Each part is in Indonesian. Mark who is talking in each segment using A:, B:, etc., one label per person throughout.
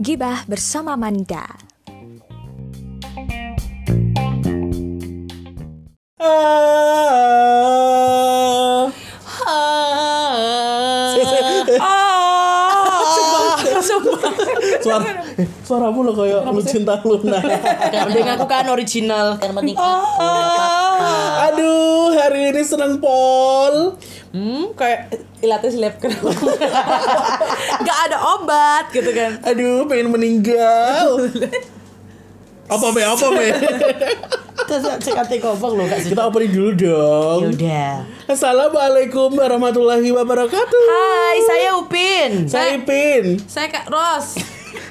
A: Gibah bersama Manda.
B: Suara, suaramu lo kayak lu cinta Luna.
C: Kambing aku kan original. Ah.
D: Yang penting aku
B: Aduh, hari ini seneng Pol.
C: Hmm, kayak ilatnya selebgram. Gak ada obat gitu kan.
B: Aduh, pengen meninggal. Apa be? Apa be?
D: Terus cek ati kobong loh Kak
B: Kita opening dulu dong.
D: Iya, Yaudah
B: Assalamualaikum warahmatullahi wabarakatuh.
C: Hai, saya Upin.
B: Saya Ipin.
C: saya Kak Ros.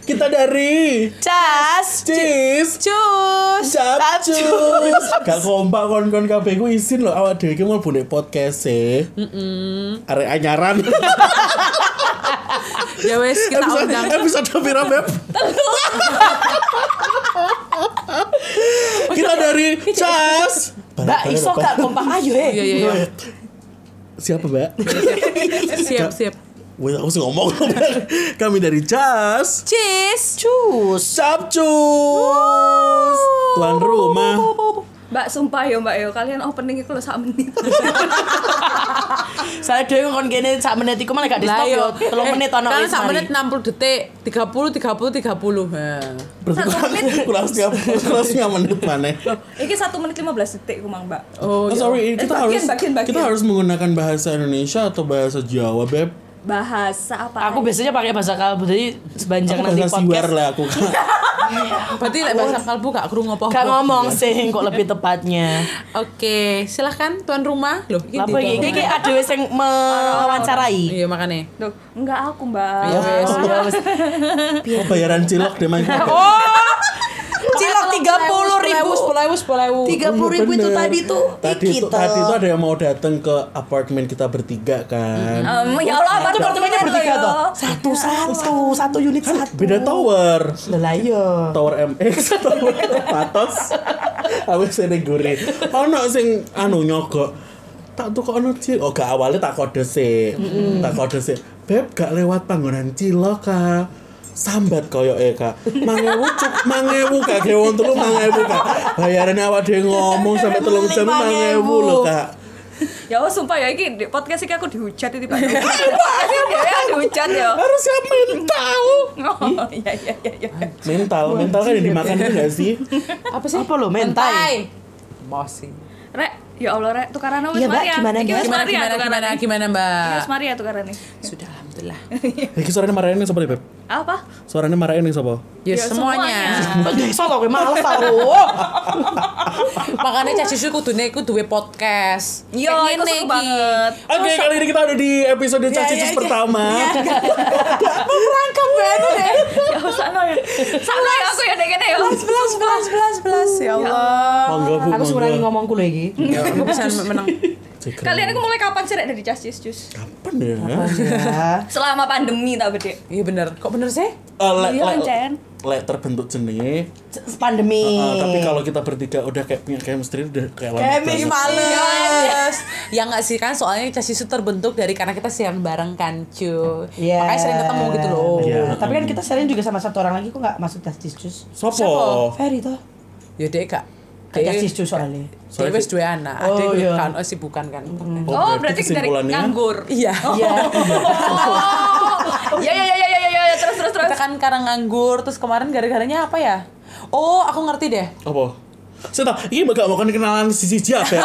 B: Kita dari
C: Cas.
B: Cheese.
C: Cus.
B: Capcus. Gak kompak kon-kon kabeh ku izin lho awak dhewe iki mau bonek podcast e. Arek anyaran.
C: Ya wes kita
B: episode
C: undang.
B: episode pira, Beb? Kita dari Cas.
D: Mbak iso Kak kompak ayo eh. he
C: Iya iya iya.
B: Siapa, Mbak?
D: Ya.
C: Siap siap.
B: Wih, aku sih ngomong. Kami dari Cas.
C: Cheese.
D: Cus
B: Capcus. Tuan rumah.
A: Mbak sumpah ya Mbak yo kalian opening itu lo sak menit.
D: Saya dhewe ngkon kene sak menit iku malah gak di stop yo 3 menit ono
C: Kan
D: wis
C: iya. sak
D: mari.
C: menit 60 detik, 30 30 30. Ha.
B: Berarti kurang, kurang setiap kurang setiap menit mana?
A: Iki satu menit 15 detik kumang Mbak.
B: Oh,
C: Oh,
D: iya.
B: sorry,
A: Eh,
B: kita
A: bagian,
B: harus
A: bagian, bagian.
B: kita harus menggunakan bahasa Indonesia atau bahasa Jawa, Beb?
A: Bahasa apa?
D: Aku biasanya pakai bahasa kalbu jadi sebanjak
B: Aku
D: nanti
B: bahasa siwer
D: podcast
B: lah aku.
C: berarti lek bahasa kalbu gak krungu apa
D: Gak ngomong sih kok lebih tepatnya
C: Oke, silahkan tuan rumah. Loh, ini
D: Apa iki iki ada wis yang mewawancarai
C: Gitu, Iya, makanya.
A: Duh, enggak aku Mbak.
C: Iya,
D: Wes ya wes Iya.
B: Oh, bayaran cilok deh main.
D: Oh, Cilok 30 ribu
C: Sepuluh ribu, sepuluh ribu.
D: 30 ribu itu
B: Bener.
D: tadi tuh
B: Tadi itu
D: kita.
B: tadi itu ada yang mau datang ke apartemen kita bertiga kan. Iya.
A: Em, ya Allah, apa ya?
D: Itu apartemennya bertiga
A: lo, yo.
D: toh. Oh, Satu satu satu unit satu.
B: Beda tower.
D: Lah iya.
B: Tower MX Tower Patos Aku sini gurih Ono sing anu nyogok Tak tuh kok ono cilok Oh gak awalnya tak kode sih Tak kode sih Beb gak lewat panggonan cilok kak sambat koyo e kak mangewu cuk mangewu kak kewon telu mangewu kak bayarannya awak dhewe ngomong sampai telung jam
D: Mangewu.
B: mangewu lho kak
A: Ya Allah sumpah ya iki di podcast iki aku dihujat itu Pak. Podcast iki dia dihujat ya.
B: harusnya mental
A: Oh, iya iya iya iya.
B: mental mental kan yang dimakan itu gak sih
D: Apa sih? Apa lo mentai?
C: Mosi.
A: Rek, ya Allah Rek, tukaran wis
D: Iya, Mbak,
A: mari ya.
D: gimana,
A: Iki
D: Mbak?
A: wis
C: Gimana,
A: mari ya
C: gimana, gimana,
A: tukaran.
C: gimana, Mbak?
A: Wis mari ya tukaran nih.
C: Sudah, Alhamdulillah.
B: Iki suaranya marahin yang sopo Beb?
A: Apa?
B: Suaranya marahin yang sopo?
C: Ya,
A: Ya,
C: semuanya.
D: Bagi solo gue males aku.
C: Makanya Caci Susu kudune iku duwe podcast.
A: Yo,
C: Kayak
A: itu
C: ngene
A: seru
C: iki.
A: banget.
B: Oke, kali ini kita ada di episode Caci Cus pertama.
D: Kan
C: Merangkap banget deh.
A: Ya usah no ya. Sama ya aku ya nek kene ya.
C: Belas, belas, belas, belas. Ya Allah.
B: Monggo Bu.
D: Aku
B: monggo.
D: sebenarnya ngomongku loh iki.
C: Aku bisa menang.
B: Cek keren.
A: Kalian aku mulai kapan sih Rek dari Justice Jus?
B: kapan ya?
D: Ya.
A: Selama pandemi tak bedek.
C: Iya bener. Kok bener sih?
B: Eh, lek
A: Iya,
B: lek-
A: Cen.
B: lek terbentuk jenenge.
D: Pandemi.
B: Eh, tapi kalau kita bertiga udah kayak punya chemistry udah kayak gitu. lama
D: Kemi
B: banget.
C: Males. ya nggak sih kan soalnya Caci Susu terbentuk dari karena kita siaran bareng kan, cu.
D: Iya.
C: Makanya sering ketemu gitu loh.
B: Iya.
D: Tapi kan kita sharing juga sama satu orang lagi kok nggak masuk justice jus.
B: Sopo? Oh,
D: Ferry toh.
C: Ya dek kak. Dek-
D: Justice jus soalnya.
C: Dia wis dua anak,
D: Oh,
C: adek
D: iya.
C: kan oh sibukan kan.
B: Oh,
A: Oh, berarti dari
B: kesimpulannya
A: nganggur.
C: Iya.
D: Iya.
A: Oh, ya ya ya ya ya ya ya, terus terus terus.
C: Kita kan karang nganggur, terus kemarin gara-garanya apa ya? Oh, aku ngerti deh.
B: Apa? Saya tahu, ini bakal makan kan kenalan sisi siapa ya?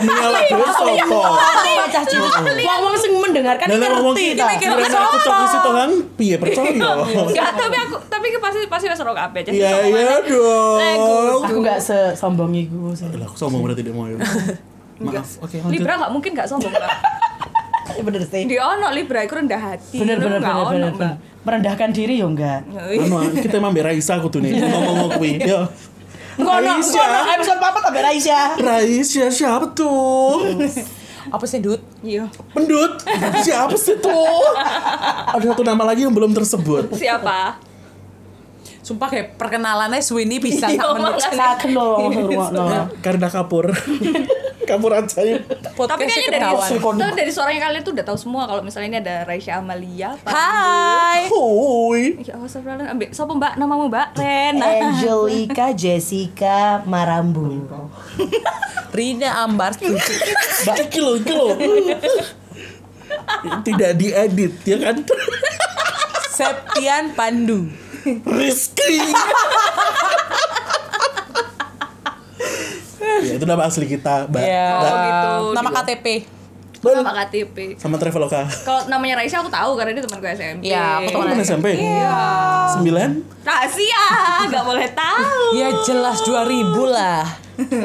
B: Demi Allah, dhewe sopo?
D: Sama cah jus. Wong-wong sing mendengarkan
B: Dan Iya. ngomong
D: ngerti
B: kita,
D: toh.
C: mikir aku
B: kira aku cok isi tohan, piye percaya?
A: Enggak, tapi aku tapi aku pasti pasti wis ora kabeh. Justice
B: Iya
A: omongannya.
B: iya dong.
D: Aku nggak sesombong iku sih.
B: Lah, aku sombong berarti dia mau. ya. Maaf. Oke, lanjut.
A: Libra nggak mungkin nggak sombong lah.
D: Bener sih.
A: Di ono Libra itu rendah hati.
D: bener
A: lu
D: bener
A: nggak
D: bener
A: ono,
D: bener,
A: Mbak.
D: bener. merendahkan diri yo enggak
A: Oh, iya.
B: anu kita emang mbak Raisa aku tuh nih ngomong kuwi yo Raisa
D: episode papa tapi Raisya
B: Raisa siapa tuh
C: Apa sih, Dut?
A: Iya.
B: pendut siapa sih tuh ada satu nama lagi yang belum tersebut
A: Siapa?
C: Sumpah kayak perkenalannya Swini bisa
A: Iya,
C: tak menit.
A: makanya.
D: Nah. saken lo ngomong
B: Karena Kapur Kapur ajaib.
A: Tapi
C: Podcastnya
A: kayaknya dari
C: ketahuan.
A: tuh dari suaranya kalian tuh udah tahu semua kalau misalnya ini ada Raisya Amalia. Pak.
C: Hai.
B: Hoi.
A: Ya Allah, astagfirullah. Ambil siapa Mbak? Namamu Mbak Rena.
E: Angelica Jessica Marambu.
C: Rina Ambar setuju.
B: Mbak iki lho, iki lho. Tidak diedit ya kan?
C: Septian Pandu.
B: Rizky. ya, itu nama asli kita, Mbak.
C: Ya.
A: Oh, gitu.
C: Nama KTP.
B: Mbak.
A: Sama KTP.
B: Sama Traveloka.
A: Kalau namanya Raisya aku tahu karena dia teman gue SMP.
C: Iya, aku
B: Kamu
C: teman
B: teman SMP? Iya. Sembilan?
A: Rahasia, nggak boleh tahu.
C: Ya jelas 2000 lah.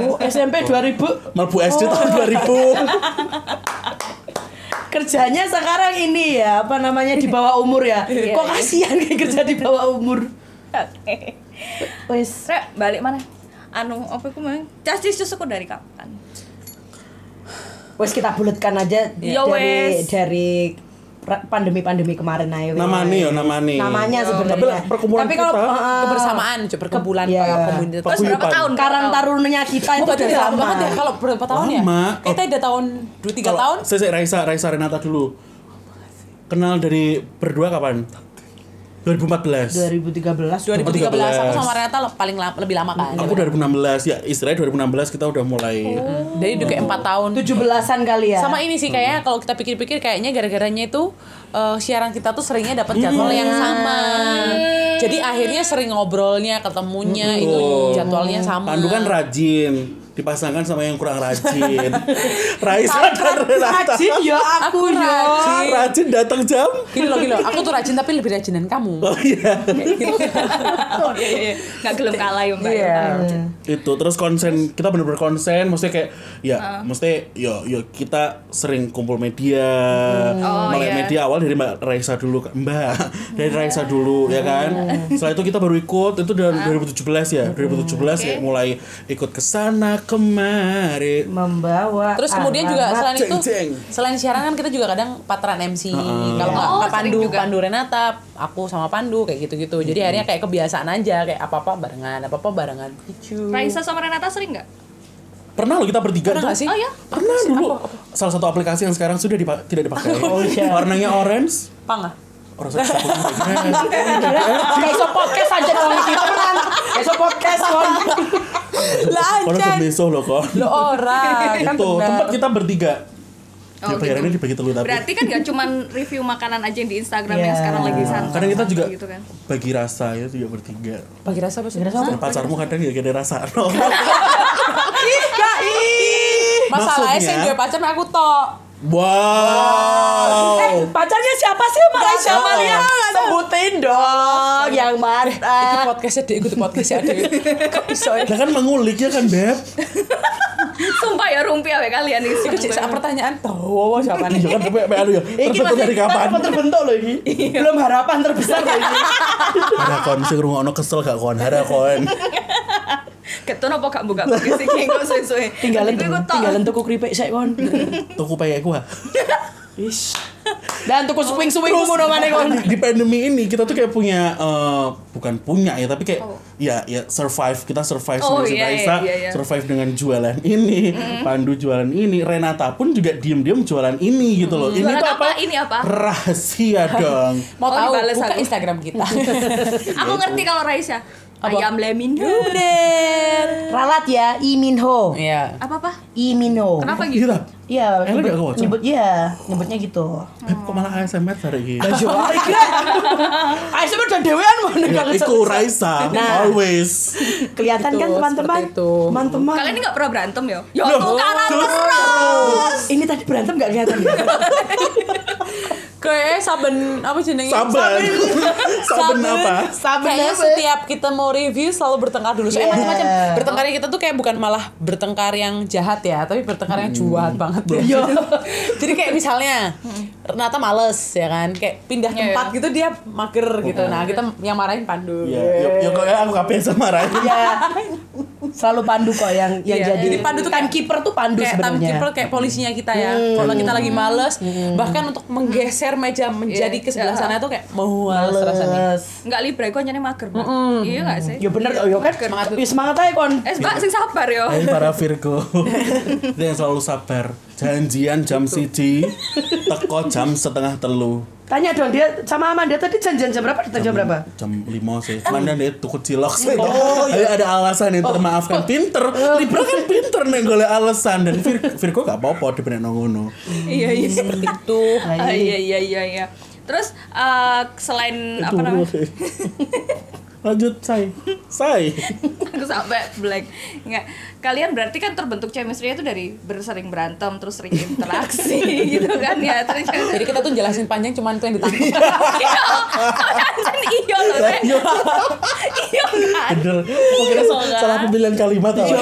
D: Oh, SMP 2000
B: Melbu SD tahun 2000.
D: kerjanya sekarang ini ya apa namanya di bawah umur ya
C: Iya,
D: kok kasihan kayak kerja di bawah umur
A: Oke.
D: wes
A: Re, balik mana? Anu, apa aku mau? Cacis susuku dari kapan?
E: Wes kita bulatkan
C: Iya.
E: aja
A: Ya,
E: dari
A: wes.
E: dari pra- pandemi-pandemi kemarin ayo.
B: Namanya ya, namanya.
E: Namanya sebenarnya.
B: Tapi lah, perkumpulan
E: Tapi kalau
B: kita-
E: eh,
C: Kebersamaan, coba perkumpulan
E: Iya.
C: kayak komunitas.
A: Terus berapa
B: Paguyuban.
A: tahun?
D: karang
A: Berapa tahun?
D: tarunanya kita
C: Oh,
D: itu
C: berarti
D: udah
C: lama
D: lama
C: banget ya kalau berapa tahun ya?
B: Lama.
C: Kita ada tahun 2 3 tahun.
B: Saya Raisa, Raisa Renata dulu. Kenal dari berdua kapan? 2014.
E: 2013
C: 2013 aku sama Renata le- paling la- lebih lama kan.
B: Aku 2016 ya, istilahnya 2016 kita udah mulai.
C: Jadi udah kayak 4 tahun.
E: 17-an kali
A: Iya.
E: ya.
C: Sama ini sih kayaknya kalau kita pikir-pikir kayaknya gara-garanya itu eh, siaran kita tuh seringnya dapat jadwal yang sama. Jadi akhirnya sering ngobrolnya, ketemunya itu jadwalnya sama.
B: Pandu kan rajin, dipasangkan sama yang kurang rajin. Raisa dan Renata.
D: rajin ya aku ya
C: aku rajin.
B: Rajin datang jam.
C: Gini loh, gini loh. Aku tuh rajin tapi lebih rajinan kamu.
B: Oh iya.
A: Oh, iya, iya. Nggak gelem kalah ya mbak. Iya.
B: itu terus konsen kita bener-bener konsen maksudnya kayak
C: Ah.
B: ya mesti yo yo kita sering kumpul media
C: Hmm.
A: Oh,
B: melek
A: iya.
B: media awal dari mbak Raisa dulu kan mbak dari Raisa
C: Iya.
B: dulu ya kan setelah itu kita baru ikut itu
C: Ah.
B: dari 2017
C: Hmm.
B: ya 2017 ya mulai ikut ke sana kemari
E: membawa
C: Terus kemudian juga
E: arwah.
C: selain
B: Ah,
C: itu,
B: Ceng-ceng. Ah,
C: selain siaran kan kita juga kadang patran MC. Kalau nggak
A: Oh,
C: Kak
A: sering
C: Pandu,
A: juga.
C: Pandu Renata, aku sama Pandu kayak gitu-gitu. Jadi akhirnya kayak kebiasaan aja kayak apa-apa barengan, apa-apa barengan. Lucu.
A: Raisa sama Renata sering nggak?
B: pernah loh kita bertiga
C: Pernah
B: tuh.
C: nggak sih? Oh,
A: Oh ya.
B: pernah dulu salah satu aplikasi yang sekarang sudah dipa- tidak dipakai
C: iya.
B: warnanya orange
C: Pangah.
B: orang saya takut kayak gimana.
D: besok podcast aja dong kita kan besok podcast kon
C: Lah
B: Orang semeso loh kok
C: Lo orang kan
B: itu
C: benar.
B: tempat kita bertiga
A: Oh,
B: Ya, bayarannya
A: gitu.
B: dibagi telur tapi
A: Berarti kan nggak cuman review makanan aja yang di Instagram yang
E: Iya.
A: sekarang lagi santai.
B: kadang kita juga
A: Gitu kan. Oh,
B: bagi rasa ya juga bertiga
C: Bagi rasa apa sih?
B: Dan pacarmu kadang ya gak ada rasa no.
C: Masalahnya sih
B: Maksudnya-
C: gue pacar aku tok.
B: wow
A: Eh,
D: pacarnya siapa sih Mbak Raisa
C: tahu.
D: Malia sebutin dong yang
C: Itu
D: mana
C: podcastnya deh, ikut podcastnya deh. Kok bisa ya?
B: Lah kan mengulik ya kan Beb
A: Sumpah ya rumpi awe kalian ini.
C: Itu jadi saat pertanyaan tuh siapa
B: Iya
C: nih?
B: kan tapi PL ya Terbentuk dari kapan
D: belum terbentuk loh ini
C: Iya.
D: belum harapan terbesar loh ini
B: Ada kon sing rungokno kesel gak kon Ada kon
A: Ketun apa gak buka buka sih kengko suwe-suwe.
D: tinggalin
A: Tapi gue tok.
D: tinggalin tuku keripik sik kon
B: Tuku payek gua
D: Ish. Dan tuku swing-swing ngono maneh kon.
B: Kan di, di pandemi ini kita tuh kayak punya eh, bukan punya ya tapi kayak ya ya survive kita survive
A: Oh,
B: sama si
A: iya, iya,
B: Raisa,
A: iya. Mm-hmm.
B: survive dengan jualan ini Pandu jualan ini Renata pun juga diem-diem jualan ini gitu loh ini
A: Mm-hmm. Jualan
B: tuh
A: apa? Ini apa?
B: rahasia dong
A: Oh,
C: Mau tahu
A: dibales
C: buka
A: aku.
C: Instagram kita.
A: Aku ngerti kalau Raisa.
C: Apa?
A: Ayam lemin.
C: Udah.
E: ralat ya Iminho.
C: Iya.
A: Apa apa?
E: Iminho.
A: Kenapa
B: Iya
A: gitu?
B: lah
E: Iya,
B: Eh, lu udah
E: nyebut,
B: kewacem?
E: nyebut ya, nyebutnya gitu.
B: Beb kok malah ASMR hari ini
D: Ah, Ayo sebut udah dewean
E: Iya,
D: mana
B: Ya,
D: kalau
B: Iku Raisa
E: Nah.
B: always
E: Kelihatan
C: Gitu,
E: kan teman-teman?
C: seperti itu.
E: Teman-teman.
A: Kalian ini nggak pernah berantem ya? Ya
B: Loh,
A: tuh kalah
B: terus.
E: Ini tadi berantem gak kelihatan ya?
C: Kayak saben apa jenenge?
B: Saben Saben apa?
C: Saben Kayaknya setiap kita mau review selalu bertengkar dulu.
E: Iya.
C: Soalnya macam-macam bertengkarnya kita tuh kayak bukan malah bertengkar yang jahat ya, tapi bertengkar yang cuat banget ya. Jadi kayak misalnya Renata males ya kan, kayak pindah
A: Iya,
C: tempat gitu
B: Iya.
C: dia mager gitu. Nah, kita yang marahin Pandu.
B: Ya, ya, ya kok aku kapan sama Raisa
E: ya
D: Iya. Selalu Pandu kok yang yang
C: Iya.
D: jadi.
C: Jadi Pandu tuh kayak-
D: timekeeper tuh Pandu
C: kayak
D: sebenarnya.
C: timekeeper kayak polisinya kita ya kalau kita lagi males bahkan untuk menggeser meja menjadi
A: Iya.
C: ke sebelah sana tuh kayak mau males rasanya
D: Males.
A: Enggak libra iku anjane mager. Mbak. Iya enggak sih?
D: Ya bener kok, ya kan.
C: Semangat.
D: Ya semangat aja kon.
A: Eh, Mbak sing sabar yo.
B: Lain para Virgo Dia yang selalu sabar Janjian jam siji Teko jam setengah telu
D: Tanya dong dia sama Amanda tadi janjian jam berapa? Datang jam berapa?
B: Jam lima sih Cuman dia itu cilok sih Jadi ada alasan yang termaafkan Pinter Libra kan pinter nih golek alasan Dan Vir- Virgo gak apa-apa di benek nongono
A: Iya iya.
C: seperti itu
A: Ah, Iya iya iya iya. Terus eh, selain apa namanya?
B: Lanjut say Say
A: aku sampai black nggak kalian berarti kan terbentuk chemistry itu dari bersering berantem terus sering interaksi gitu kan ya terus
C: jadi kita tuh jelasin panjang cuman itu yang ditangkap
A: iya kan iya loh Teh. iya kan
B: Bener Pokoknya
A: Iya.
B: salah pemilihan kalimat apa?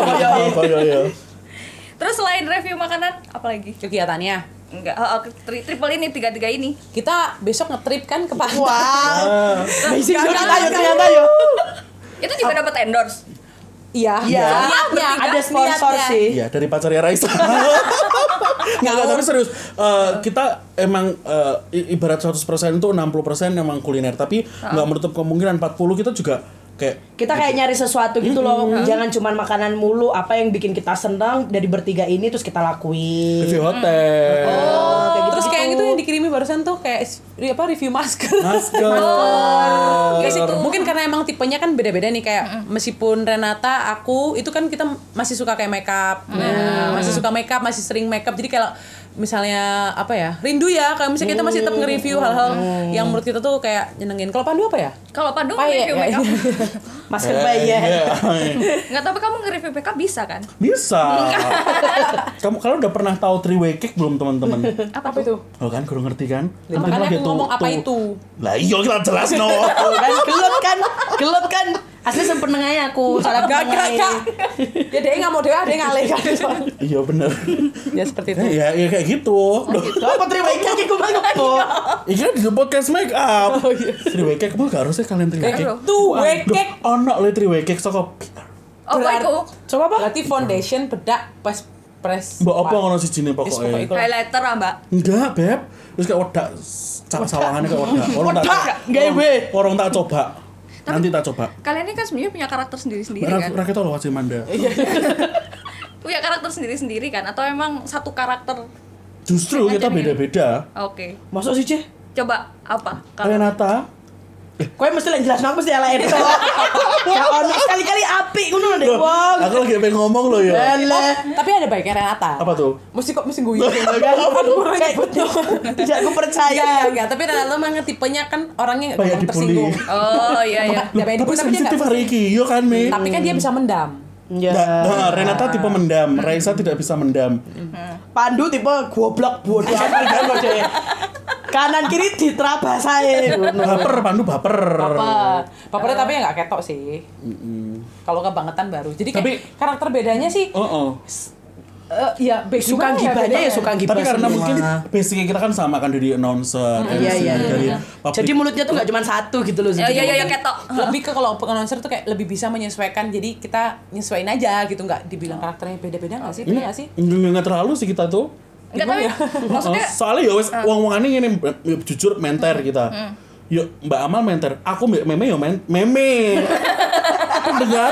B: Apa, iya, iya.
A: terus selain review makanan apalagi
C: kegiatannya
A: enggak oh, oh, tri- triple ini tiga tiga ini
C: kita besok ngetrip kan ke pantai
B: Ah.
D: Amazing yo
C: Jangan,
D: kita yo
C: jangan.
D: ternyata yo.
A: itu juga dapat endorse
C: iya ya.
D: Iya.
C: niatnya
D: Ada sponsor
C: niatnya.
D: sih.
B: Ah, Iya dari pacarnya Raisa. Nggak, nggak, tapi serius. Eh, kita emang eh, i- ibarat 100% itu 60% emang kuliner. Tapi nggak menutup kemungkinan 40 kita juga kayak
D: Kita kayak nyari sesuatu gitu loh. Jangan cuman makanan mulu, apa yang bikin kita senang dari bertiga ini terus kita lakuin. Oh,
B: review hotel,
C: terus kayak gitu yang dikirimi barusan tuh kayak s- apa review
B: Oh.
C: masker
B: masker. Oh,
C: Kayak situ. Mungkin karena emang tipenya kan beda-beda nih kayak meskipun Renata aku itu kan kita masih suka kayak makeup. Nah, masih suka makeup, masih sering makeup. Jadi kalau misalnya apa ya? Rindu ya kalau misalnya kita masih tetap nge-review hal-hal yang menurut kita tuh kayak nyenengin. Kalau Pandu apa ya?
A: kalau pandu
C: Payet
A: review makeup
D: Masker
B: Iya,
D: ya. bayar.
A: nggak tapi kamu nge-review makeup bisa kan
B: Bisa. Kamu kalau udah pernah tahu three way kick belum teman-teman?
A: apa, tuh
B: Oh kan, kurang ngerti kan?
C: Makanya
B: Mungkin lagi
C: aku
B: tuh-
C: ngomong apa
B: tuh-
C: itu.
B: Lah iya kita jelas no.
D: kan gelut kan gelut kan asli sempenengahnya aku salah
C: Gak, gak, gak. Ya dia nggak mau dia, dia ngalih kan.
B: Iya bener.
C: Ya seperti itu.
B: Ya, ya kayak gitu.
D: apa terima ikan aku banget kok
B: Ini kan di podcast make up. Triwekek mah gak harusnya kalian triwekek.
A: Gak
C: Tuh, wekek.
B: Loh, Ono le triwekek saka
A: oh itu
D: coba apa
C: Berarti foundation bedak pas press.
B: mbok apa
C: Wah.
B: ngono sijine pokoke.
C: pokoknya iku.
A: highlighter ah mbak
B: Enggak, Beb. Terus kayak wedak cap sawangane kayak wedak. Orang tak
D: Wedak, nggak,
B: orang-
D: weh.
B: Orang tak coba. Nanti tak coba.
A: kalian ini kan sebenarnya punya karakter sendiri sendiri kan
B: Rakyat tau loh Cimanda.
C: Iya.
A: punya karakter sendiri sendiri kan atau emang satu karakter
B: Justru kita
A: Macam
C: kan?
A: ini.
B: beda-beda.
A: Oke,
D: masuk sih ceh
A: coba apa? Kalau
B: Renata,
D: kowe mesti lek jelas aku mesti ala itu ya ono sekali-kali apik ngono
C: Iya,
D: deh
B: Loh,
D: wong
B: aku lagi pengen ngomong loh ya.
D: lele
C: Oh, Tapi ada baiknya Renata.
B: Apa tuh?
C: Mesti kok mesti guyu.
D: aduh tidak aku
C: Enggak,
D: percaya
C: Iya, enggak, tapi Renata mah tipenya kan orangnya enggak
B: Banyak
C: gampang
B: dibully.
C: tersinggung.
A: oh iya iya.
C: Nggak pengen
B: Tapi
C: dibully, tapi dia
B: sensitif
C: nggak-
B: hari ini, iya kan, Mi?
C: Tapi kan dia bisa mendam.
D: ya
B: Nggak, nah, Renata tipe mendam, Raisa tidak bisa mendam.
D: pandu tipe goblok bodoh amat kan kok Cek. kanan kiri diterabas ae
B: Baper, Pandu baper.
C: Baper. Bapernya tapi ya enggak ketok sih. Kalau kebangetan baru. Jadi kayak
B: Tapi-
C: karakter bedanya sih
B: Oh, oh.
C: eh, ya be-
D: suka
C: gimana
D: gibahnya ya
C: bedanya?
D: suka gibah
B: Tapi karena
D: semua.
B: mungkin basicnya kita kan sama kan dari announcer, MC,
D: iya, iya,
B: dari
D: jadi
B: public.
D: mulutnya tuh nggak cuma satu gitu loh
A: Ya
D: jadi
A: ya ya, ya
D: mungkin-
A: ketok.
C: lebih ke kalau pengannouncer tuh kayak lebih bisa menyesuaikan jadi kita nyesuaiin aja gitu nggak dibilang karakternya beda-beda nggak sih
B: Hmm,
C: beda nggak sih
B: nggak nggak terlalu sih kita tuh.
A: Enggak tapi maksudnya
B: Soalnya ya wes
D: Ah.
B: uang uang ini ini jujur menter kita. Yuk Mbak Amal menter, aku Mbak Meme yo men Meme. Dengar?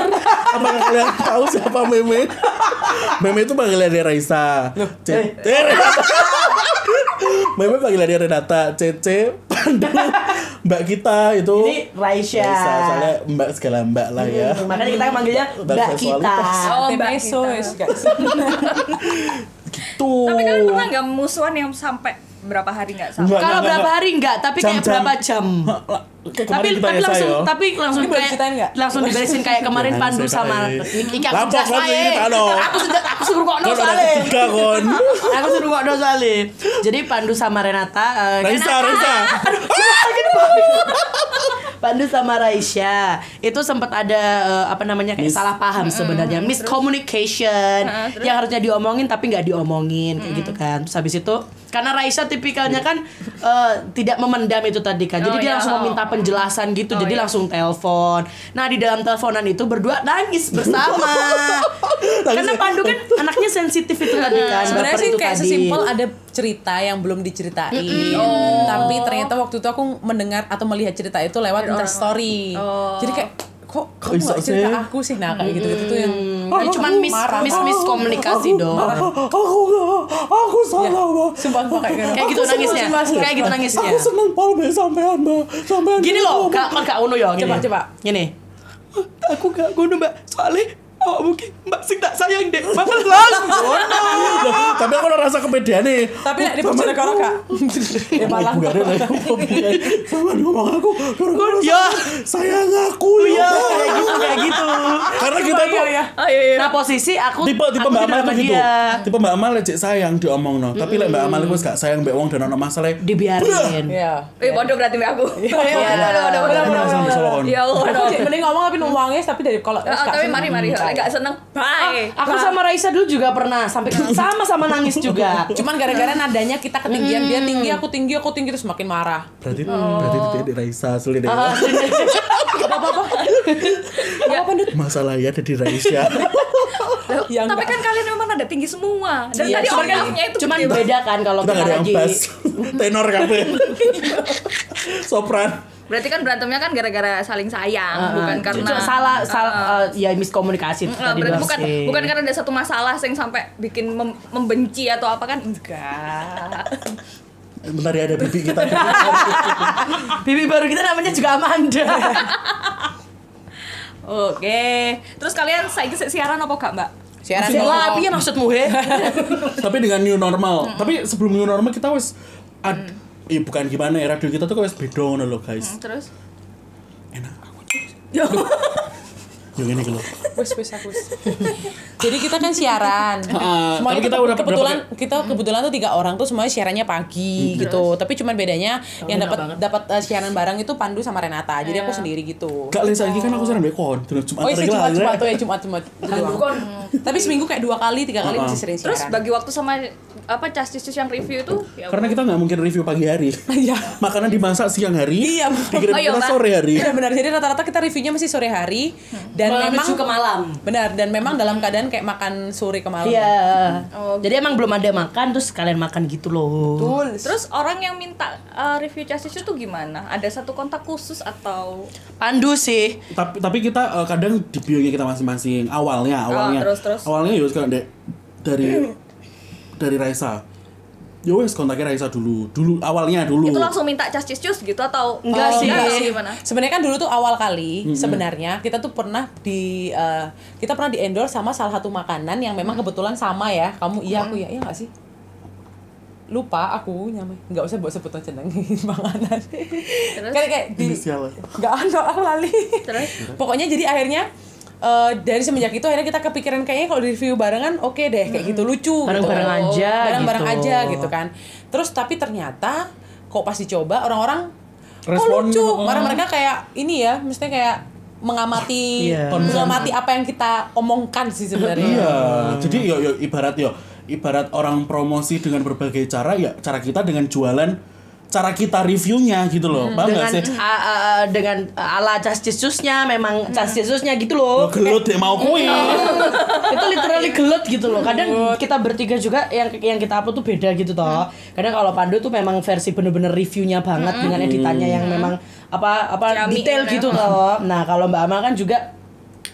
B: Apakah kalian tahu siapa Meme? Meme itu panggilan dari Raisa. C- eh, Renata. Meme panggilan dari Renata, Cece, Pandu, Mbak kita itu.
D: ini Raisya
B: Raisa, soalnya Mbak segala Mbak lah ya.
D: Gitu, makanya kita manggilnya
B: Dan
D: Mbak kita
B: seksualitas.
A: Oh, Mbak
C: Temeso,
A: kita.
C: wes, guys.
B: Tuh.
A: tapi kalian pernah nggak musuhan yang sampai berapa hari nggak sama?
B: Enggak,
D: kalau
B: enggak,
D: berapa
B: enggak.
D: hari enggak tapi kayak
B: Jam-jam.
D: berapa jam
B: Kayak
D: tapi
B: kemarin kita ya,
D: tapi langsung
B: Sayo.
D: tapi langsung
C: Ini boleh
D: kayak
C: ceritain nggak?
D: langsung diberesin kayak kemarin
B: Jangan
D: Pandu
B: ceritain.
D: sama Iki aku
B: Lapor
D: jelas
B: kon
D: wae.
B: ini, Tano.
D: aku sudah aku suruh kok no
B: Kon udah
D: soalnya
B: ketiga kon.
D: aku suruh kok no soalnya jadi Pandu sama Renata eh,
B: Raisa, Raisa.
D: Aduh, sakit Pandu sama Raisya itu sempat ada eh, apa namanya kayak
B: Mis-
D: salah paham sebenarnya miscommunication yang harusnya diomongin tapi nggak diomongin kayak gitu kan terus habis itu karena Raisya tipikalnya kan eh, tidak memendam itu tadi kan jadi
A: Oh,
D: dia
A: iya.
D: langsung
A: Oh.
D: meminta penjelasan gitu jadi langsung telepon nah di dalam teleponan itu berdua nangis bersama karena Pandu kan anaknya sensitif itu tadi kan
C: sebenarnya
D: baper
C: sih
D: itu
C: kayak
D: tadi.
C: sesimpel ada cerita yang belum diceritain tapi ternyata waktu itu aku mendengar atau melihat cerita itu lewat interstory jadi kayak kok kamu
B: Bisa
C: gak cerita
B: sih.
C: aku sih nah kayak gitu gitu tuh yang
D: Ya, cuman mis
C: Marah.
D: mis miskomunikasi dong
B: aku nggak, aku salah mbak.
C: sumpah aku kayak gitu.
D: kayak gitu
B: Aku
D: nangisnya
B: senang sih, Mas.
D: kayak gitu nangisnya
B: Aku seneng pol be sampean mbak, sampean.
D: gini
B: dulu,
D: loh
B: Mbak.
D: kak kak Uno ya gini.
C: Coba, coba.
D: gini aku gak guna mbak soalnya oh mungkin mbak sih tak sayang deh bakal langsung ngono.
B: Loh, tapi aku udah rasa kepedean nih.
C: tapi nek di penjara kalau kak ya malah
B: Bukan ada lagi Sama ngomong aku gara-gara
D: Ya.
B: saya Iya, ngaku
D: iya
B: ya.
D: kayak gitu kayak gitu
B: Karena kita tuh
C: Iya.
D: nah posisi aku
B: tipe tipe
D: aku
B: Mbak
D: tidak
B: Amal
D: sama
B: tuh gitu.
D: dia.
B: Tipe Mbak Amal lejek sayang diomong no. Tapi lek Mbak Amal itu gak sayang mbak Wong dan ono masalah.
D: dibiarin
C: ya
A: Eh, bodoh berarti mbak aku.
B: Sama solo kon.
A: Ya
C: aku
A: Allah.
C: sih mending ngomong tapi nangis tapi dari kalau
A: Eh, Tapi mari mari, enggak seneng. Bye.
D: aku sama Raisa dulu juga pernah sampai sama sama nangis juga
C: cuman gara-gara nadanya kita ketinggian dia tinggi aku tinggi aku tinggi terus makin marah
B: Berarti
C: Oh.
B: berarti tidak di Raisa sulit ya.
C: Ah.
B: Masalahnya ada di ya Raisa.
A: Loh,
C: Ya,
A: tapi
C: enggak.
A: kan kalian memang ada tinggi semua. Dan
C: Iya,
A: tadi
C: cuman-
A: orangnya itu
D: cuman
A: gede banget.
D: beda kan kalau
B: Kita
D: kita
B: gak ada yang
D: lagi
B: bass. Tenor kabeh. Sopran.
A: Berarti kan berantemnya kan gara-gara saling sayang,
D: Uh-uh.
A: bukan karena
D: Cuma salah salah uh, ya miskomunikasi itu
A: Nah,
D: tadi
A: berarti
D: Mas.
A: bukan
D: Eh.
A: bukan karena ada satu masalah yang sampai bikin mem- membenci atau apa kan enggak.
B: Bentar ya ada bibi kita.
D: bibi baru kita namanya juga Amanda
A: Oke. Terus kalian saiki sik siaran apa gak, Mbak?
C: siaran
D: Sing lah
C: dong.
D: piye maksudmu he
B: Tapi dengan new
C: Mm.
B: normal. Tapi sebelum new normal kita wis ad- Ih, bukan gimana ya radio kita tuh kayak wis beda ngono loh guys.
A: Hmm, Terus
C: Mm.
B: Enak aku. Yang ini kalau
C: Wes, wes, aku wes. Jadi kita kan siaran.
B: Ah,
C: semuanya
B: tapi kita
C: kita
B: udah-
C: kebetulan
B: udah
C: kita kebetulan tuh tiga orang tuh semuanya siarannya pagi gitu. Tapi cuman bedanya yang dapat dapat eh, siaran bareng itu Pandu sama Renata. Jadi aku sendiri gitu.
B: Gak lesa lagi kan aku sering bekon. Cuma
C: Oh iya
B: lagi
C: Jumat Jumat
B: lah.
C: tuh ya Jumat Jumat. Tapi seminggu kayak dua kali tiga kali
B: Ah,
C: masih
B: ah.
C: sering siaran.
A: hmm. terus bagi waktu sama apa castis yang review itu ya
B: Karena kita nggak mungkin review pagi hari.
C: Iya.
B: Makanan dimasak siang hari,
C: Iya.
A: Oh,
B: dikirim
A: iya,
B: kita
A: Mbak.
B: sore hari.
C: Iya benar. Jadi rata-rata kita reviewnya masih sore hari dan
D: Malam
C: memang
D: menuju ke malam.
C: Benar dan memang dalam keadaan kayak makan sore ke malam.
D: iya jadi emang belum ada makan terus kalian makan gitu loh
C: Betul.
A: Terus orang yang minta uh, review castis itu gimana? Ada satu kontak khusus atau
D: Pandu sih
B: tapi tapi kita eh, kadang di bio-nya kita masing-masing awalnya awalnya
A: Ah, terus, terus.
B: awalnya ya sekarang dek dari dari Raisa ya wes kontaknya Raisa dulu dulu awalnya dulu
A: itu langsung minta castis cus gitu atau
D: Enggak
A: Oh,
D: sih.
A: atau gimana?
C: Iya, Sebenarnya kan dulu tuh awal kali sebenarnya kita tuh pernah di eh, kita pernah di endorse sama salah satu makanan yang memang kebetulan sama ya. Kamu iya aku iya iya nggak sih? Lupa aku nyampe nggak usah buat sebutan jeneng makanan. Kayak kayak di
B: Inisial.
C: nggak ada aku lali.
A: Terus?
C: Pokoknya jadi akhirnya eh, dari semenjak itu akhirnya kita kepikiran kayaknya kalau di review barengan oke deh kayak gitu lucu gitu.
D: Bareng-bareng aja
C: bareng-bareng
D: gitu.
C: aja gitu kan terus tapi ternyata kok pas dicoba orang-orang kok
B: Respon,
C: lucu
B: oh.
C: Orang mereka kayak ini ya mestinya kayak mengamati
D: Iya.
C: mengamati apa yang kita omongkan sih sebenarnya
B: iya jadi yo yo ibarat yo ibarat orang promosi dengan berbagai cara ya cara kita dengan jualan cara kita reviewnya gitu
A: Hmm.
B: loh paham
D: dengan
B: gak sih
D: a- a- a- dengan ala cas cisusnya memang cas cisusnya gitu
B: Oh,
D: loh kan?
B: gelut deh
A: Iya.
B: mau kui
D: itu literally gelut gitu loh kadang kita bertiga juga yang yang kita upload tuh beda gitu toh kadang kalau Pandu tuh memang versi bener-bener reviewnya banget dengan editannya yang memang apa apa
A: Ciamik
D: detail
A: ya,
D: gitu toh nah kalau Mbak Amal kan juga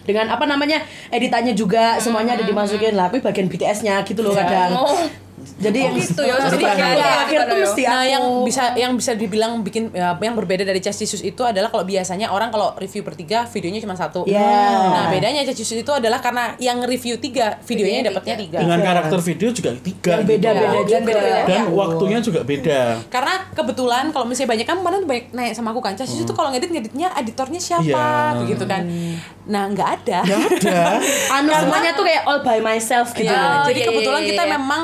D: dengan apa namanya editannya juga semuanya ada dimasukin lah tapi bagian BTS-nya gitu loh
C: Iya.
D: kadang
A: Oh,
D: jadi yang
A: gitu ya.
D: jadi
A: Jadi
D: yang
A: kayak-
D: akhir tuh
A: kayak-
D: mesti
C: nah
D: aku-
C: yang bisa yang bisa dibilang bikin ya, yang berbeda dari Justice itu adalah kalau biasanya orang kalau review bertiga videonya cuma satu
D: Iya.
C: nah bedanya Justice itu adalah karena yang review tiga videonya dapatnya tiga
B: dengan karakter video juga tiga
D: yang
B: gitu.
D: beda-beda
C: Dan
D: juga
C: beda-beda.
B: dan waktunya juga beda
C: karena kebetulan kalau misalnya banyak kan kemarin banyak naik sama aku kan Cas itu kalau ngedit ngeditnya editornya siapa
B: Iya.
C: begitu kan nah nggak ada
B: Gak ada
D: anu semuanya tuh kayak all by myself gitu
C: Iya,
D: loh.
A: Oh, iya,
C: jadi
A: iya,
D: ya,
C: kebetulan
A: iya,
C: kita
A: iya.
C: memang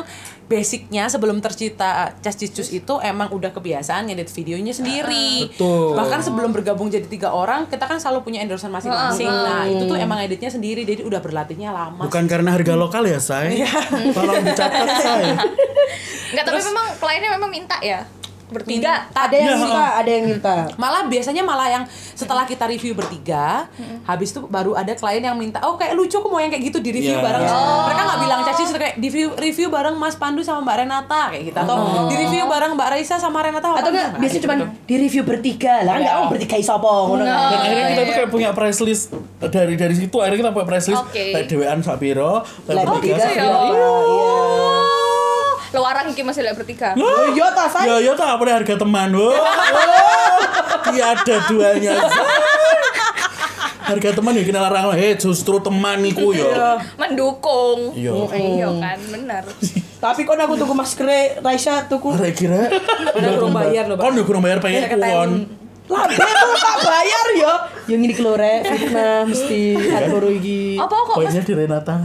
C: basicnya sebelum tercipta Cascicus itu emang udah kebiasaan ngedit videonya
D: Ah,
C: sendiri.
B: Betul.
C: Bahkan sebelum bergabung jadi tiga orang, kita kan selalu punya endorsean masing-masing.
D: Ah,
C: Nah, itu tuh emang editnya sendiri, jadi udah berlatihnya lama.
B: Bukan karena harga lokal ya, say. Tolong dicatat, say.
A: Enggak, tapi memang kliennya memang minta ya. Bertiga.
C: Minta.
E: Ada yang
B: Ya,
E: minta, ada yang minta.
C: Malah biasanya malah yang setelah kita review bertiga, habis itu baru ada klien yang minta, "Oh, kayak lucu aku mau yang kayak gitu di review
B: Iya.
C: bareng."
D: Oh.
C: Mereka nggak bilang caci kayak di review, review bareng Mas Pandu sama Mbak Renata kayak gitu atau di review bareng Mbak Raisa sama
D: Oh.
C: Renata
D: Atau enggak
C: apa enggak?
D: biasanya
C: Kayak
D: cuman
C: gitu.
D: di review bertiga lah, kan enggak oh bertiga isopo
B: Dan
D: ngono kan.
E: gitu.
B: akhirnya kita tuh kayak punya price list dari dari situ akhirnya kita punya price list
A: Oke.
B: like dewean Sapiro, like
D: Like
B: bertiga
D: bertiga,
B: Sapiro.
D: iya.
A: Oh, Luaran iki masih lihat bertiga.
C: Iya.
B: Loh,
E: Yo Oh, iya, ta say.
B: Ya ya tak apa harga teman. Wah. wah, Tiada duanya. Harga teman ya kenal larang. Eh justru teman iku
E: Iya.
D: Iya.
B: yo.
A: Mendukung.
B: Iya.
A: Iya kan, bener.
E: Tapi kon aku tuku maskere Raisa tuku.
B: Arek kira
C: Padahal kurang bayar loh, Pak.
B: Kon yo kurang bayar pengen
C: Saya ketahui.
B: kuon.
E: Lah bebo tak bayar yo. Yo ngene iki lho rek, fitnah mesti atur iki.
A: Apa kok mas?
B: Poinnya di Renata.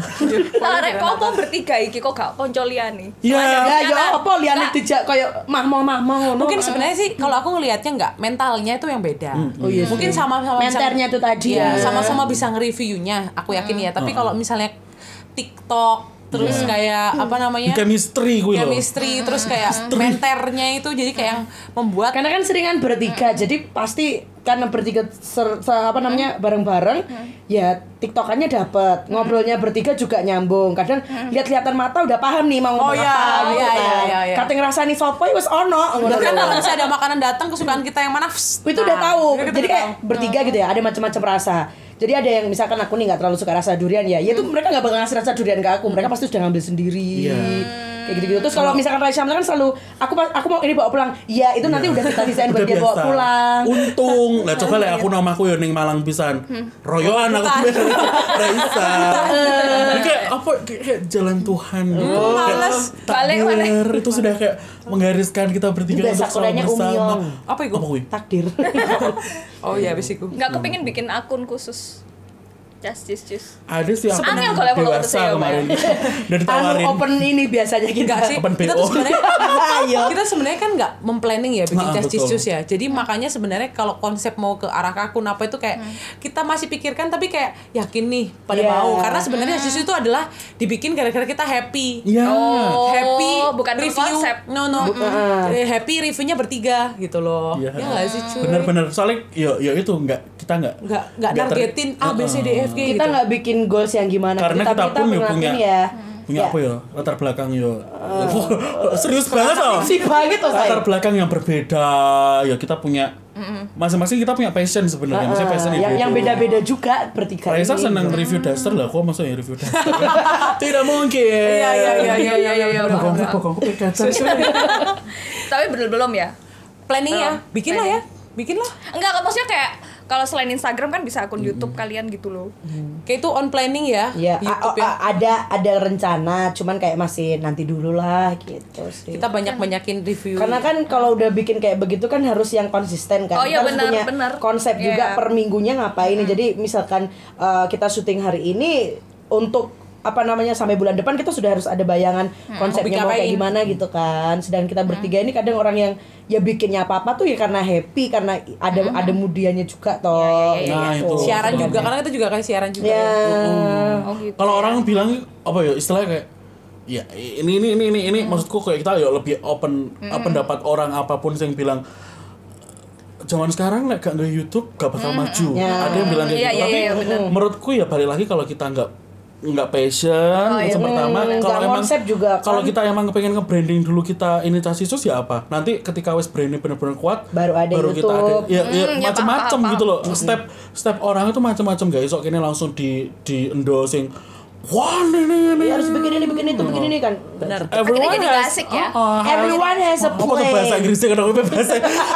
A: Arek kok apa bertiga iki kok gak konco liyane?
E: Ya
B: Iya.
E: yo apa liane dijak koyo mahmo-mahmo ngono.
D: Oh,
C: Mungkin sebenarnya sih kalau aku ngelihatnya nggak mentalnya itu yang beda.
B: Hmm,
E: Oh iya.
C: Mungkin sama-sama bisa-
E: Menternya itu tadi
C: Iya,
E: ya.
C: sama-sama bisa nge-reviewnya, aku yakin ya.
B: Hmm.
C: Tapi kalau misalnya TikTok terus kayak
D: Hmm.
C: apa namanya?
B: Iya. Chemistry gue loh.
C: Iya. chemistry terus kayak menternya itu jadi kayak yang membuat
D: Karena Hmm. kan seringan bertiga, jadi pasti karena bertiga ser, se- apa namanya bareng-bareng, ya tiktokannya dapat, ngobrolnya bertiga juga nyambung. Kadang lihat-lihatan mata udah paham nih mau
C: Oh,
D: ngomong
C: iya,
D: apa,
C: iya,
D: gitu
C: iya,
D: kan.
C: iya, iya.
D: Kate ngrasani sopo ya wis ono. ngono
C: bahkan
D: lho.
C: kalau bisa ada makanan datang kesukaan kita yang mana psst,
D: itu udah
C: nah,
D: tahu.
C: kita
D: Jadi
C: udah
D: kayak
C: tahu.
D: bertiga gitu ya, ada macam-macam rasa. Jadi ada yang misalkan aku nih nggak terlalu suka rasa durian ya, ya itu
C: Mm.
D: mereka nggak bakal ngasih rasa durian ke aku, mereka pasti udah ngambil sendiri.
B: Iya.
D: Kayak gitu-gitu. Terus
C: Mm.
D: kalau misalkan Raisa kan selalu aku pas- aku mau ini bawa pulang. Iya, itu nanti udah kita desain buat dia bawa pulang.
B: Untung, lah coba lah aku namaku yo ning Malang pisan. Royoan aku bener. Raisa. Ini kayak apa kayak kayak jalan Tuhan gitu.
C: males.
A: Balik, balik.
B: Takdir itu sudah kayak menggariskan kita bertiga
D: Juga
B: untuk selalu
D: sakuranya
B: bersama.
D: Umiong.
C: Apa iku?
B: Apa kui?
D: Takdir.
C: oh iya abis itu
A: Enggak kepengin bikin akun khusus. Just just just.
B: Ada sih aku
A: Angel kalau emang
B: dewasa
A: waktu itu ya,
B: kemarin. Udah
D: Anu
B: ditawarin.
D: open ini biasanya kita.
C: enggak sih
B: Open
C: kita
B: BO.
C: tuh sebenarnya
D: Ayo.
C: kita sebenarnya kan nggak memplanning ya bikin
B: Ah,
C: cas
B: betul.
C: cicus ya jadi makanya sebenarnya kalau konsep mau ke arah kakun apa itu
A: Hmm.
C: kayak kita masih pikirkan tapi kayak yakin nih pada
D: Iya.
C: mau karena
A: Ah.
C: sebenarnya cas itu adalah dibikin gara-gara kita happy
B: Iya.
A: Oh,
C: happy
A: bukan
C: review
A: konsep.
C: no no Mm. Eh, happy reviewnya bertiga gitu loh
B: Iya.
C: ya nggak sih cuy
B: Bener-bener soalnya yo yo itu enggak kita enggak
C: nggak nggak
B: nggak ter-
C: nargetin A B C D E F G
D: Kita
C: gitu.
D: nggak bikin goals yang gimana.
B: karena
D: tapi
B: kita, pun yo punya
D: perlakuin ya. Eh,
B: punya apa ya latar belakang yo serius banget loh
D: Si banget tuh saya.
B: latar belakang yang berbeda ya kita punya masing-masing kita punya passion sebenarnya maksudnya passion
D: Eh, yang,
B: itu
D: yang beda-beda Iya. juga bertiga.
B: gitu. Raisa
D: ini.
B: senang review daster lah, kok maksudnya review daster? Tidak mungkin. Iya
C: iya, iya, iya, iya, iya, iya, paham,
B: Bokongku, bokongku pakai kaca.
A: Tapi belum belum ya.
C: planning ya bikin lah ya bikin lah
A: Enggak, kok, maksudnya kayak kalau selain Instagram kan bisa akun YouTube kalian gitu loh.
C: kayak itu on planning ya
D: Ya, a-
C: YouTube ya
D: a- ada ada rencana, cuman kayak masih nanti dulu lah gitu sih.
C: kita banyak banyakin review
D: Karena kan kalau udah bikin kayak begitu kan harus yang konsisten
A: Oh,
D: kan.
A: iya,
D: Kita harus
A: benar,
D: punya
A: benar.
D: konsep
A: Iya.
D: juga per minggunya ngapain. Jadi misalkan eh, kita syuting hari ini untuk apa namanya sampai bulan depan kita sudah harus ada bayangan konsepnya mau
C: Mau bikin
D: kayak
C: apain.
D: gimana gitu kan. Sedangkan kita bertiga ini kadang orang yang ya bikinnya apa-apa tuh ya karena happy karena ada ada mudiannya juga
A: Iya,
D: toh. Iya,
B: Nah, itu.
C: siaran juga karena kita juga kan siaran juga
D: Ya.
C: ya.
A: Oh gitu.
B: Kalau orang bilang apa ya istilahnya kayak ya ini ini ini ini ini
D: Hmm.
B: maksudku kayak kita ya lebih open pendapat orang apapun yang bilang zaman sekarang lah gak nge YouTube gak bakal
D: Hmm.
B: maju.
D: Ya.
B: Ada yang bilang kayak
A: Iya,
B: gitu.
A: iya,
B: Tapi
A: iya, bener.
B: menurutku ya balik lagi kalau kita nggak nggak passion yang pertama
D: Hmm,
B: kalau
D: nggak
B: emang
D: konsep juga kan.
B: kalau kita emang pengen nge-branding dulu kita ini casisus ya apa nanti ketika wes branding bener-bener kuat
D: Baru ada
B: kita ada
D: YouTube.
B: ya, ya,
A: Hmm, ya,
B: macam-macam
A: paham,
B: gitu loh step step orang itu macam-macam guys sok ini langsung di di endosing wah ini ini ini
A: kan.
D: Ya, harus bikin ini bikin itu bikin ini kan.
C: benar
A: Akhirnya
B: everyone
A: jadi
B: has-
A: gak asik ya.
B: Oh, has-
D: Everyone has a
B: apa tuh bahasa
D: plan.
B: Inggrisnya kenapa gue bahasa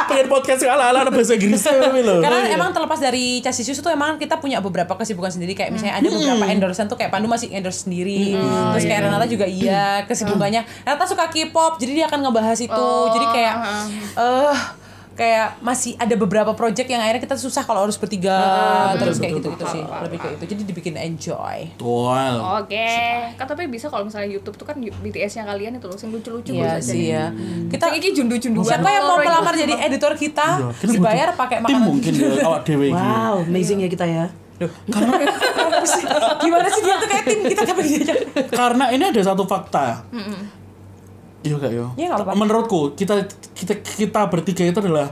B: pengen podcast ala ala bahasa Inggrisnya tapi loh Iya.
C: Karena emang terlepas dari Casisius itu emang kita punya beberapa kesibukan sendiri kayak misalnya ada beberapa endorsean tuh kayak Pandu masih endorse sendiri. Terus kayak
B: iya.
C: Renata juga
B: Oh, uh-huh.
C: iya, kesibukannya. Renata suka K-pop, jadi dia akan ngebahas itu. Jadi kayak eh kayak masih ada beberapa project yang akhirnya kita susah kalau harus bertiga
B: Uh-huh.
C: terus kayak gitu-gitu sih. Lebih kayak itu. Jadi dibikin enjoy. Gitu.
B: Wow.
A: Oke, kan tapi bisa kalau misalnya YouTube tuh kan BTS-nya kalian itu loh, sing lucu-lucu
C: Iya
A: gitu.
C: sih ya.
B: Hmm.
C: Kita
A: Sing iki jundu-junduan.
C: siapa yang mau melamar jadi editor
B: Iya,
C: kita?
B: kita
C: Dibayar
B: butuh
C: pakai
B: tim
C: makanan.
B: mungkin ya, awak dewe iki.
E: Wow, amazing ya kita ya.
C: Apa sih? Gimana sih dia tuh kayak tim kita kapan diajak?
B: Karena ini ada satu fakta. Iya gak yo?
C: Iya, nggak apa-apa.
B: Menurutku kita kita kita bertiga itu adalah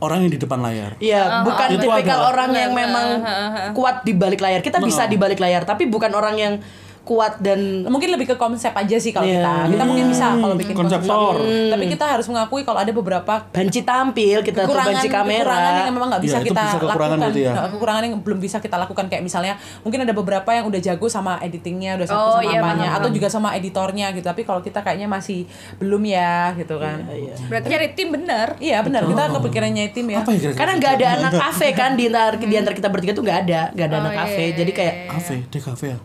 B: orang yang di depan layar.
E: Iya, bukan
B: itu
E: tipikal
B: ada.
E: orang yang memang kuat di balik layar. Kita bisa di balik layar, tapi bukan orang yang kuat dan
C: mungkin lebih ke konsep aja
E: Iya.
C: sih kalau kita kita
E: Hmm.
C: mungkin bisa kalau bikin
B: Konseptor.
C: konsep. Hmm. tapi kita harus mengakui kalau ada beberapa
E: banci tampil, kita tuh
C: kekurangan
E: banci kamera.
C: kekurangan yang memang nggak bisa
B: Iya, itu
C: kita
B: bisa kekurangan
C: lakukan
B: berarti ya.
C: Nah, kekurangan yang belum bisa kita lakukan kayak misalnya mungkin ada beberapa yang udah jago sama editingnya udah
A: Oh,
C: sama, sama
A: iya,
C: apanya
A: paham,
C: atau
A: paham.
C: juga sama editornya gitu tapi kalau kita kayaknya masih belum ya gitu kan iya,
A: Berarti nyari tim bener.
C: benar kita kepikirannya tim ya
B: Apa ya kira-kira?
E: Karena nggak ada anak kafe kan di antar di antar kita bertiga tuh nggak ada, nggak ada
A: Oh,
E: anak
A: iya,
E: kafe.
A: iya,
E: Jadi kayak
B: Kafe, di kafe ya.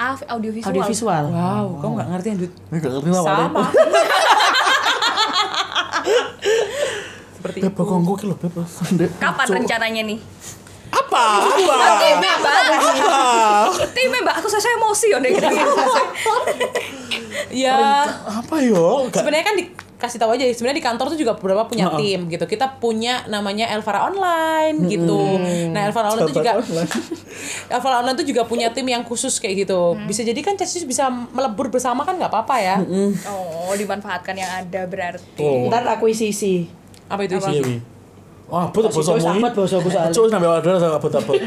A: Ah, audiovisual.
E: audiovisual.
C: wow kamu nggak ngerti ya Dut?
B: Ini gak ngerti lah awalnya.
C: sama
B: Beb, bokongku ki lho, Beb. Sendek.
A: Kapan rencananya nih?
B: Apa?
A: Timnya, Mbak. Timnya, Mbak. Aku saya emosi ya deh.
C: Iya.
E: Iya.
C: ya
B: Apa yo? Gak-
C: sebenarnya kan dikasih tahu aja sebenarnya di kantor tuh juga beberapa punya
B: Heeh.
C: tim gitu kita punya namanya Elvara Online gitu nah Elvara Online itu juga Elvara Online itu juga punya tim yang khusus kayak gitu bisa jadi kan Cesius bisa melebur bersama kan nggak apa-apa ya
A: Oh, dimanfaatkan yang ada berarti.
B: Oh.
D: Ntar aku isi-isi.
C: apa itu
B: Iya,
C: sih
B: Wi. Wah, abot bosomu
D: Cuk, sahabat bosoku soalnya.
B: Cuk, sampai wadah saya abot-abot.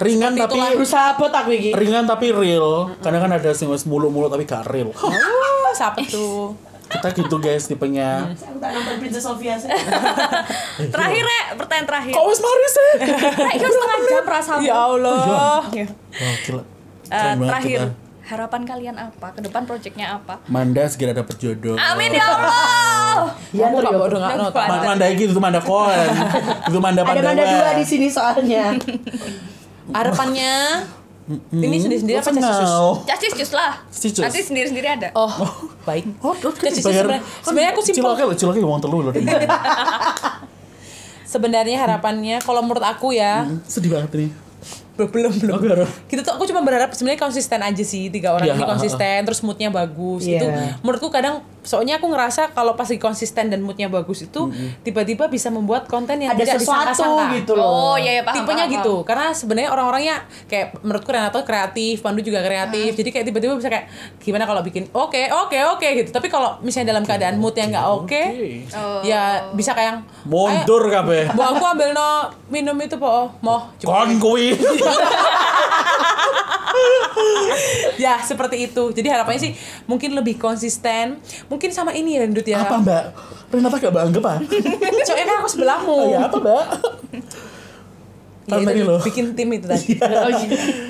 B: Ringan tapi
D: Berusaha buat aku iki.
B: ringan tapi real. Karena kan ada sing wis muluk-muluk tapi gak real.
C: oh, siapa tuh
B: Kita gitu guys tipenya.
D: Aku tak nonton Princess Sofia sih.
A: Terakhir, Rek. Pertanyaan terakhir.
B: Kok wis mari sih?
A: Rek, itu setengah jam perasaanmu. Iya.
C: ya Allah
B: Wah, gila.
A: Oh. Eh,
B: Keren banget
A: terakhir,
B: kita.
A: harapan kalian apa? Ke depan proyeknya apa?
B: Manda segera dapat jodoh.
C: Oh.
A: Amin ya Allah.
E: Iya,
D: Ya,
C: Kamu nggak
D: Trio.
C: bodoh nggak
A: Nggak
C: nonton.
B: Ma- Manda iki itu manda kon. Itu manda
D: Ada
B: pandawa.
D: ada dua di sini soalnya.
C: harapannya ini sendiri-sendiri apa Cesius
B: Kenal.
A: Cacis jus lah.
B: Cicus.
A: Nanti sendiri-sendiri ada.
C: oh baik
B: Oh, terus
C: Cesius
B: dibayar.
C: sebenarnya- sebenarnya aku simpel
B: Ciloknya lho, ciloknya uang telu lho. Dini.
C: sebenarnya harapannya kalau menurut aku ya
B: Sedih banget nih.
C: belum belum
B: Oke, oke.
C: kita Gitu tuh aku cuma berharap sebenarnya konsisten aja sih tiga orang
B: Iya,
C: ini
B: ha, ha, ha.
C: konsisten terus moodnya bagus
D: Iya.
C: itu menurutku kadang soalnya aku ngerasa kalau pas lagi konsisten dan moodnya bagus itu tiba-tiba bisa membuat konten yang
D: Ada
C: tidak
D: sesuatu
C: disangka-sangka
D: gitu
A: Oh,
D: loh.
A: iya ya paham.
C: tipenya
A: paham,
C: gitu karena sebenarnya orang-orangnya kayak menurutku Renato kreatif Pandu juga
D: Ah.
C: kreatif jadi kayak tiba-tiba bisa kayak gimana kalau bikin oke oke oke gitu tapi kalau misalnya dalam keadaan mood yang nggak oke ya bisa kayak
B: Mundur kabeh.
C: Bu aku ambil no minum itu po oh, mau
B: Kon kuwi.
C: ya seperti itu jadi harapannya sih mungkin lebih konsisten mungkin sama ini ya Dut ya
B: Iya. Apa, Mbak? Renata gak bangga, Pak?
C: Soalnya kan aku sebelahmu
B: Oh, ya apa, Mbak?
C: Ya,
B: Tahun
C: itu,
B: tadi loh.
C: bikin tim itu tadi
B: Iya.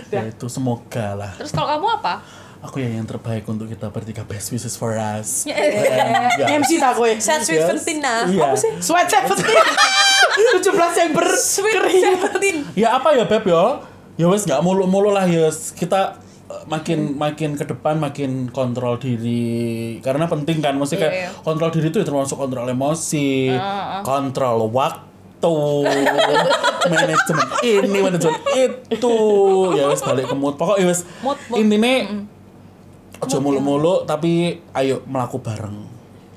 B: ya itu semoga lah.
A: Terus kalau kamu apa?
B: Aku ya yang terbaik untuk kita bertiga best wishes for us. Ya,
D: Ini MC tak kowe.
C: Sad Sweet Seventeen nah
B: Iya.
C: apa sih
D: Sweat 17. 17 yang ber
C: Sweet Seventeen
B: Ya apa ya Beb ya? Ya wes nggak mulu-mulu lah ya. Kita eh, makin
A: Hmm.
B: makin ke depan makin kontrol diri karena penting kan mesti kayak
A: Iya, Ah, iya.
B: kontrol diri itu ya termasuk kontrol emosi, kontrol waktu, manajemen ini, manajemen itu. Ya wes balik ke mood. ya Pokoknya wes
C: Mood, mood.
B: intine
A: ya.
B: ojo mulu-mulu tapi ayo melaku bareng.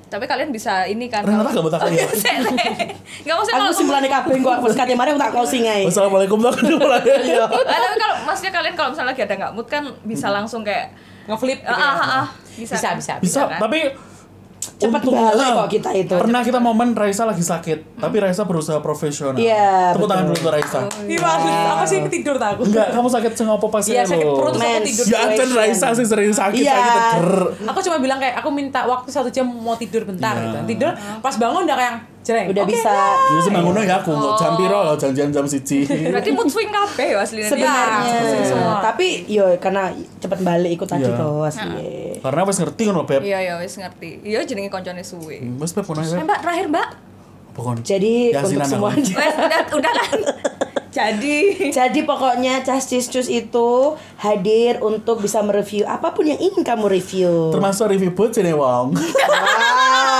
A: Tapi kalian bisa ini kan.
B: Renata gak buta kali ya?
A: Enggak usah
D: Aku
A: kalau
D: simpulannya kabeh kok aku sekate mari aku tak closing ae.
B: Wassalamualaikum warahmatullahi wabarakatuh.
A: Ah, tapi kalau maksudnya kalian kalau misalnya lagi ada nggak mood kan bisa langsung kayak
C: ngeflip gitu
A: ah,
C: ya.
A: ah, ah, bisa
C: Bisa,
A: kan?
C: bisa.
B: bisa
A: kan?
B: tapi
D: Iya Cepet
B: untungnya
D: balik kok kita itu. Hmm.
B: pernah kita momen Raisa lagi sakit tapi Raisa berusaha profesional
D: Iya,
B: tepuk tangan dulu
D: betul.
B: untuk Raisa
C: Gimana? apa sih ketidur tak Iya, aku
B: enggak kamu sakit sing apa pas
C: Iya, sakit perut terus aku
D: Mens.
C: tidur
B: ya kan Raisa sih sering sakit
D: Iya.
B: sakit teger
C: aku cuma bilang kayak aku minta waktu satu jam mau tidur bentar
B: Iya.
C: gitu tidur pas bangun udah kayak jereng
D: Udah
C: Oke, Iya,
D: bisa.
B: jadi sih bangunnya ya aku kok jam piro
D: Oh.
B: loh janjian jam siji
A: berarti mood swing kabeh ya aslinya.
D: Sebenarnya.
A: Iya. Semua.
D: Tapi yo karena cepet balik ikut tadi
B: Iya.
D: toh asli.
B: karena wes ngerti kan lo beb
A: Iya ya wis ngerti. Iya jenenge koncone suwe.
B: wes beb punah
A: Eh,
B: beb
A: Mbak terakhir Mbak.
B: pokon
D: Jadi untuk semua
A: Wes udah udah kan. Jadi
D: Jadi pokoknya Justice Choose itu hadir untuk bisa mereview apapun yang ingin kamu review.
B: termasuk review buat sini wong
D: Wow,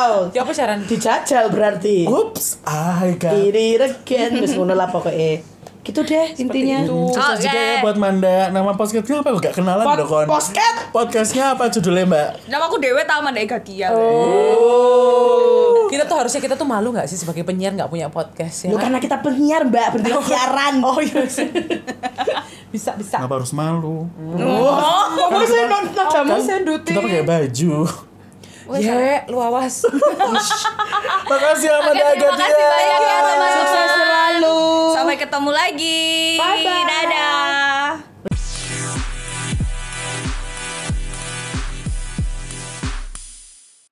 D: Wow.
C: Ya apa saran?
D: Dijajal berarti.
B: Oops, I got
D: Iri regen wis ngono lah pokoknya. Gitu deh intinya.
B: Susah
A: Oke.
B: juga ya buat Manda Nama podcastnya apa? Gak kenalan
D: Oh, iya. Pod-
B: dong kon
D: podcast?
B: Podcastnya apa judulnya mbak?
A: Nama aku Dewe Taman Ega Dia.
B: Oh,
D: Oh.
C: Kita tuh harusnya kita tuh malu nggak sih sebagai penyiar nggak punya podcast ya?
D: Loh, karena kita penyiar Mbak, berarti siaran. Oh iya.
C: Bisa bisa.
B: Kenapa harus malu?
D: Kamu sih
B: 哦
D: nonton jamu
B: Kita pakai baju
C: Ya, lu awas.
B: Makasih
A: Oke,
B: Amanda
A: terima kasih
B: Agadia
A: banyak ya teman-teman.
D: selalu.
A: Sampai ketemu lagi.
C: Bye-bye.
A: Dadah.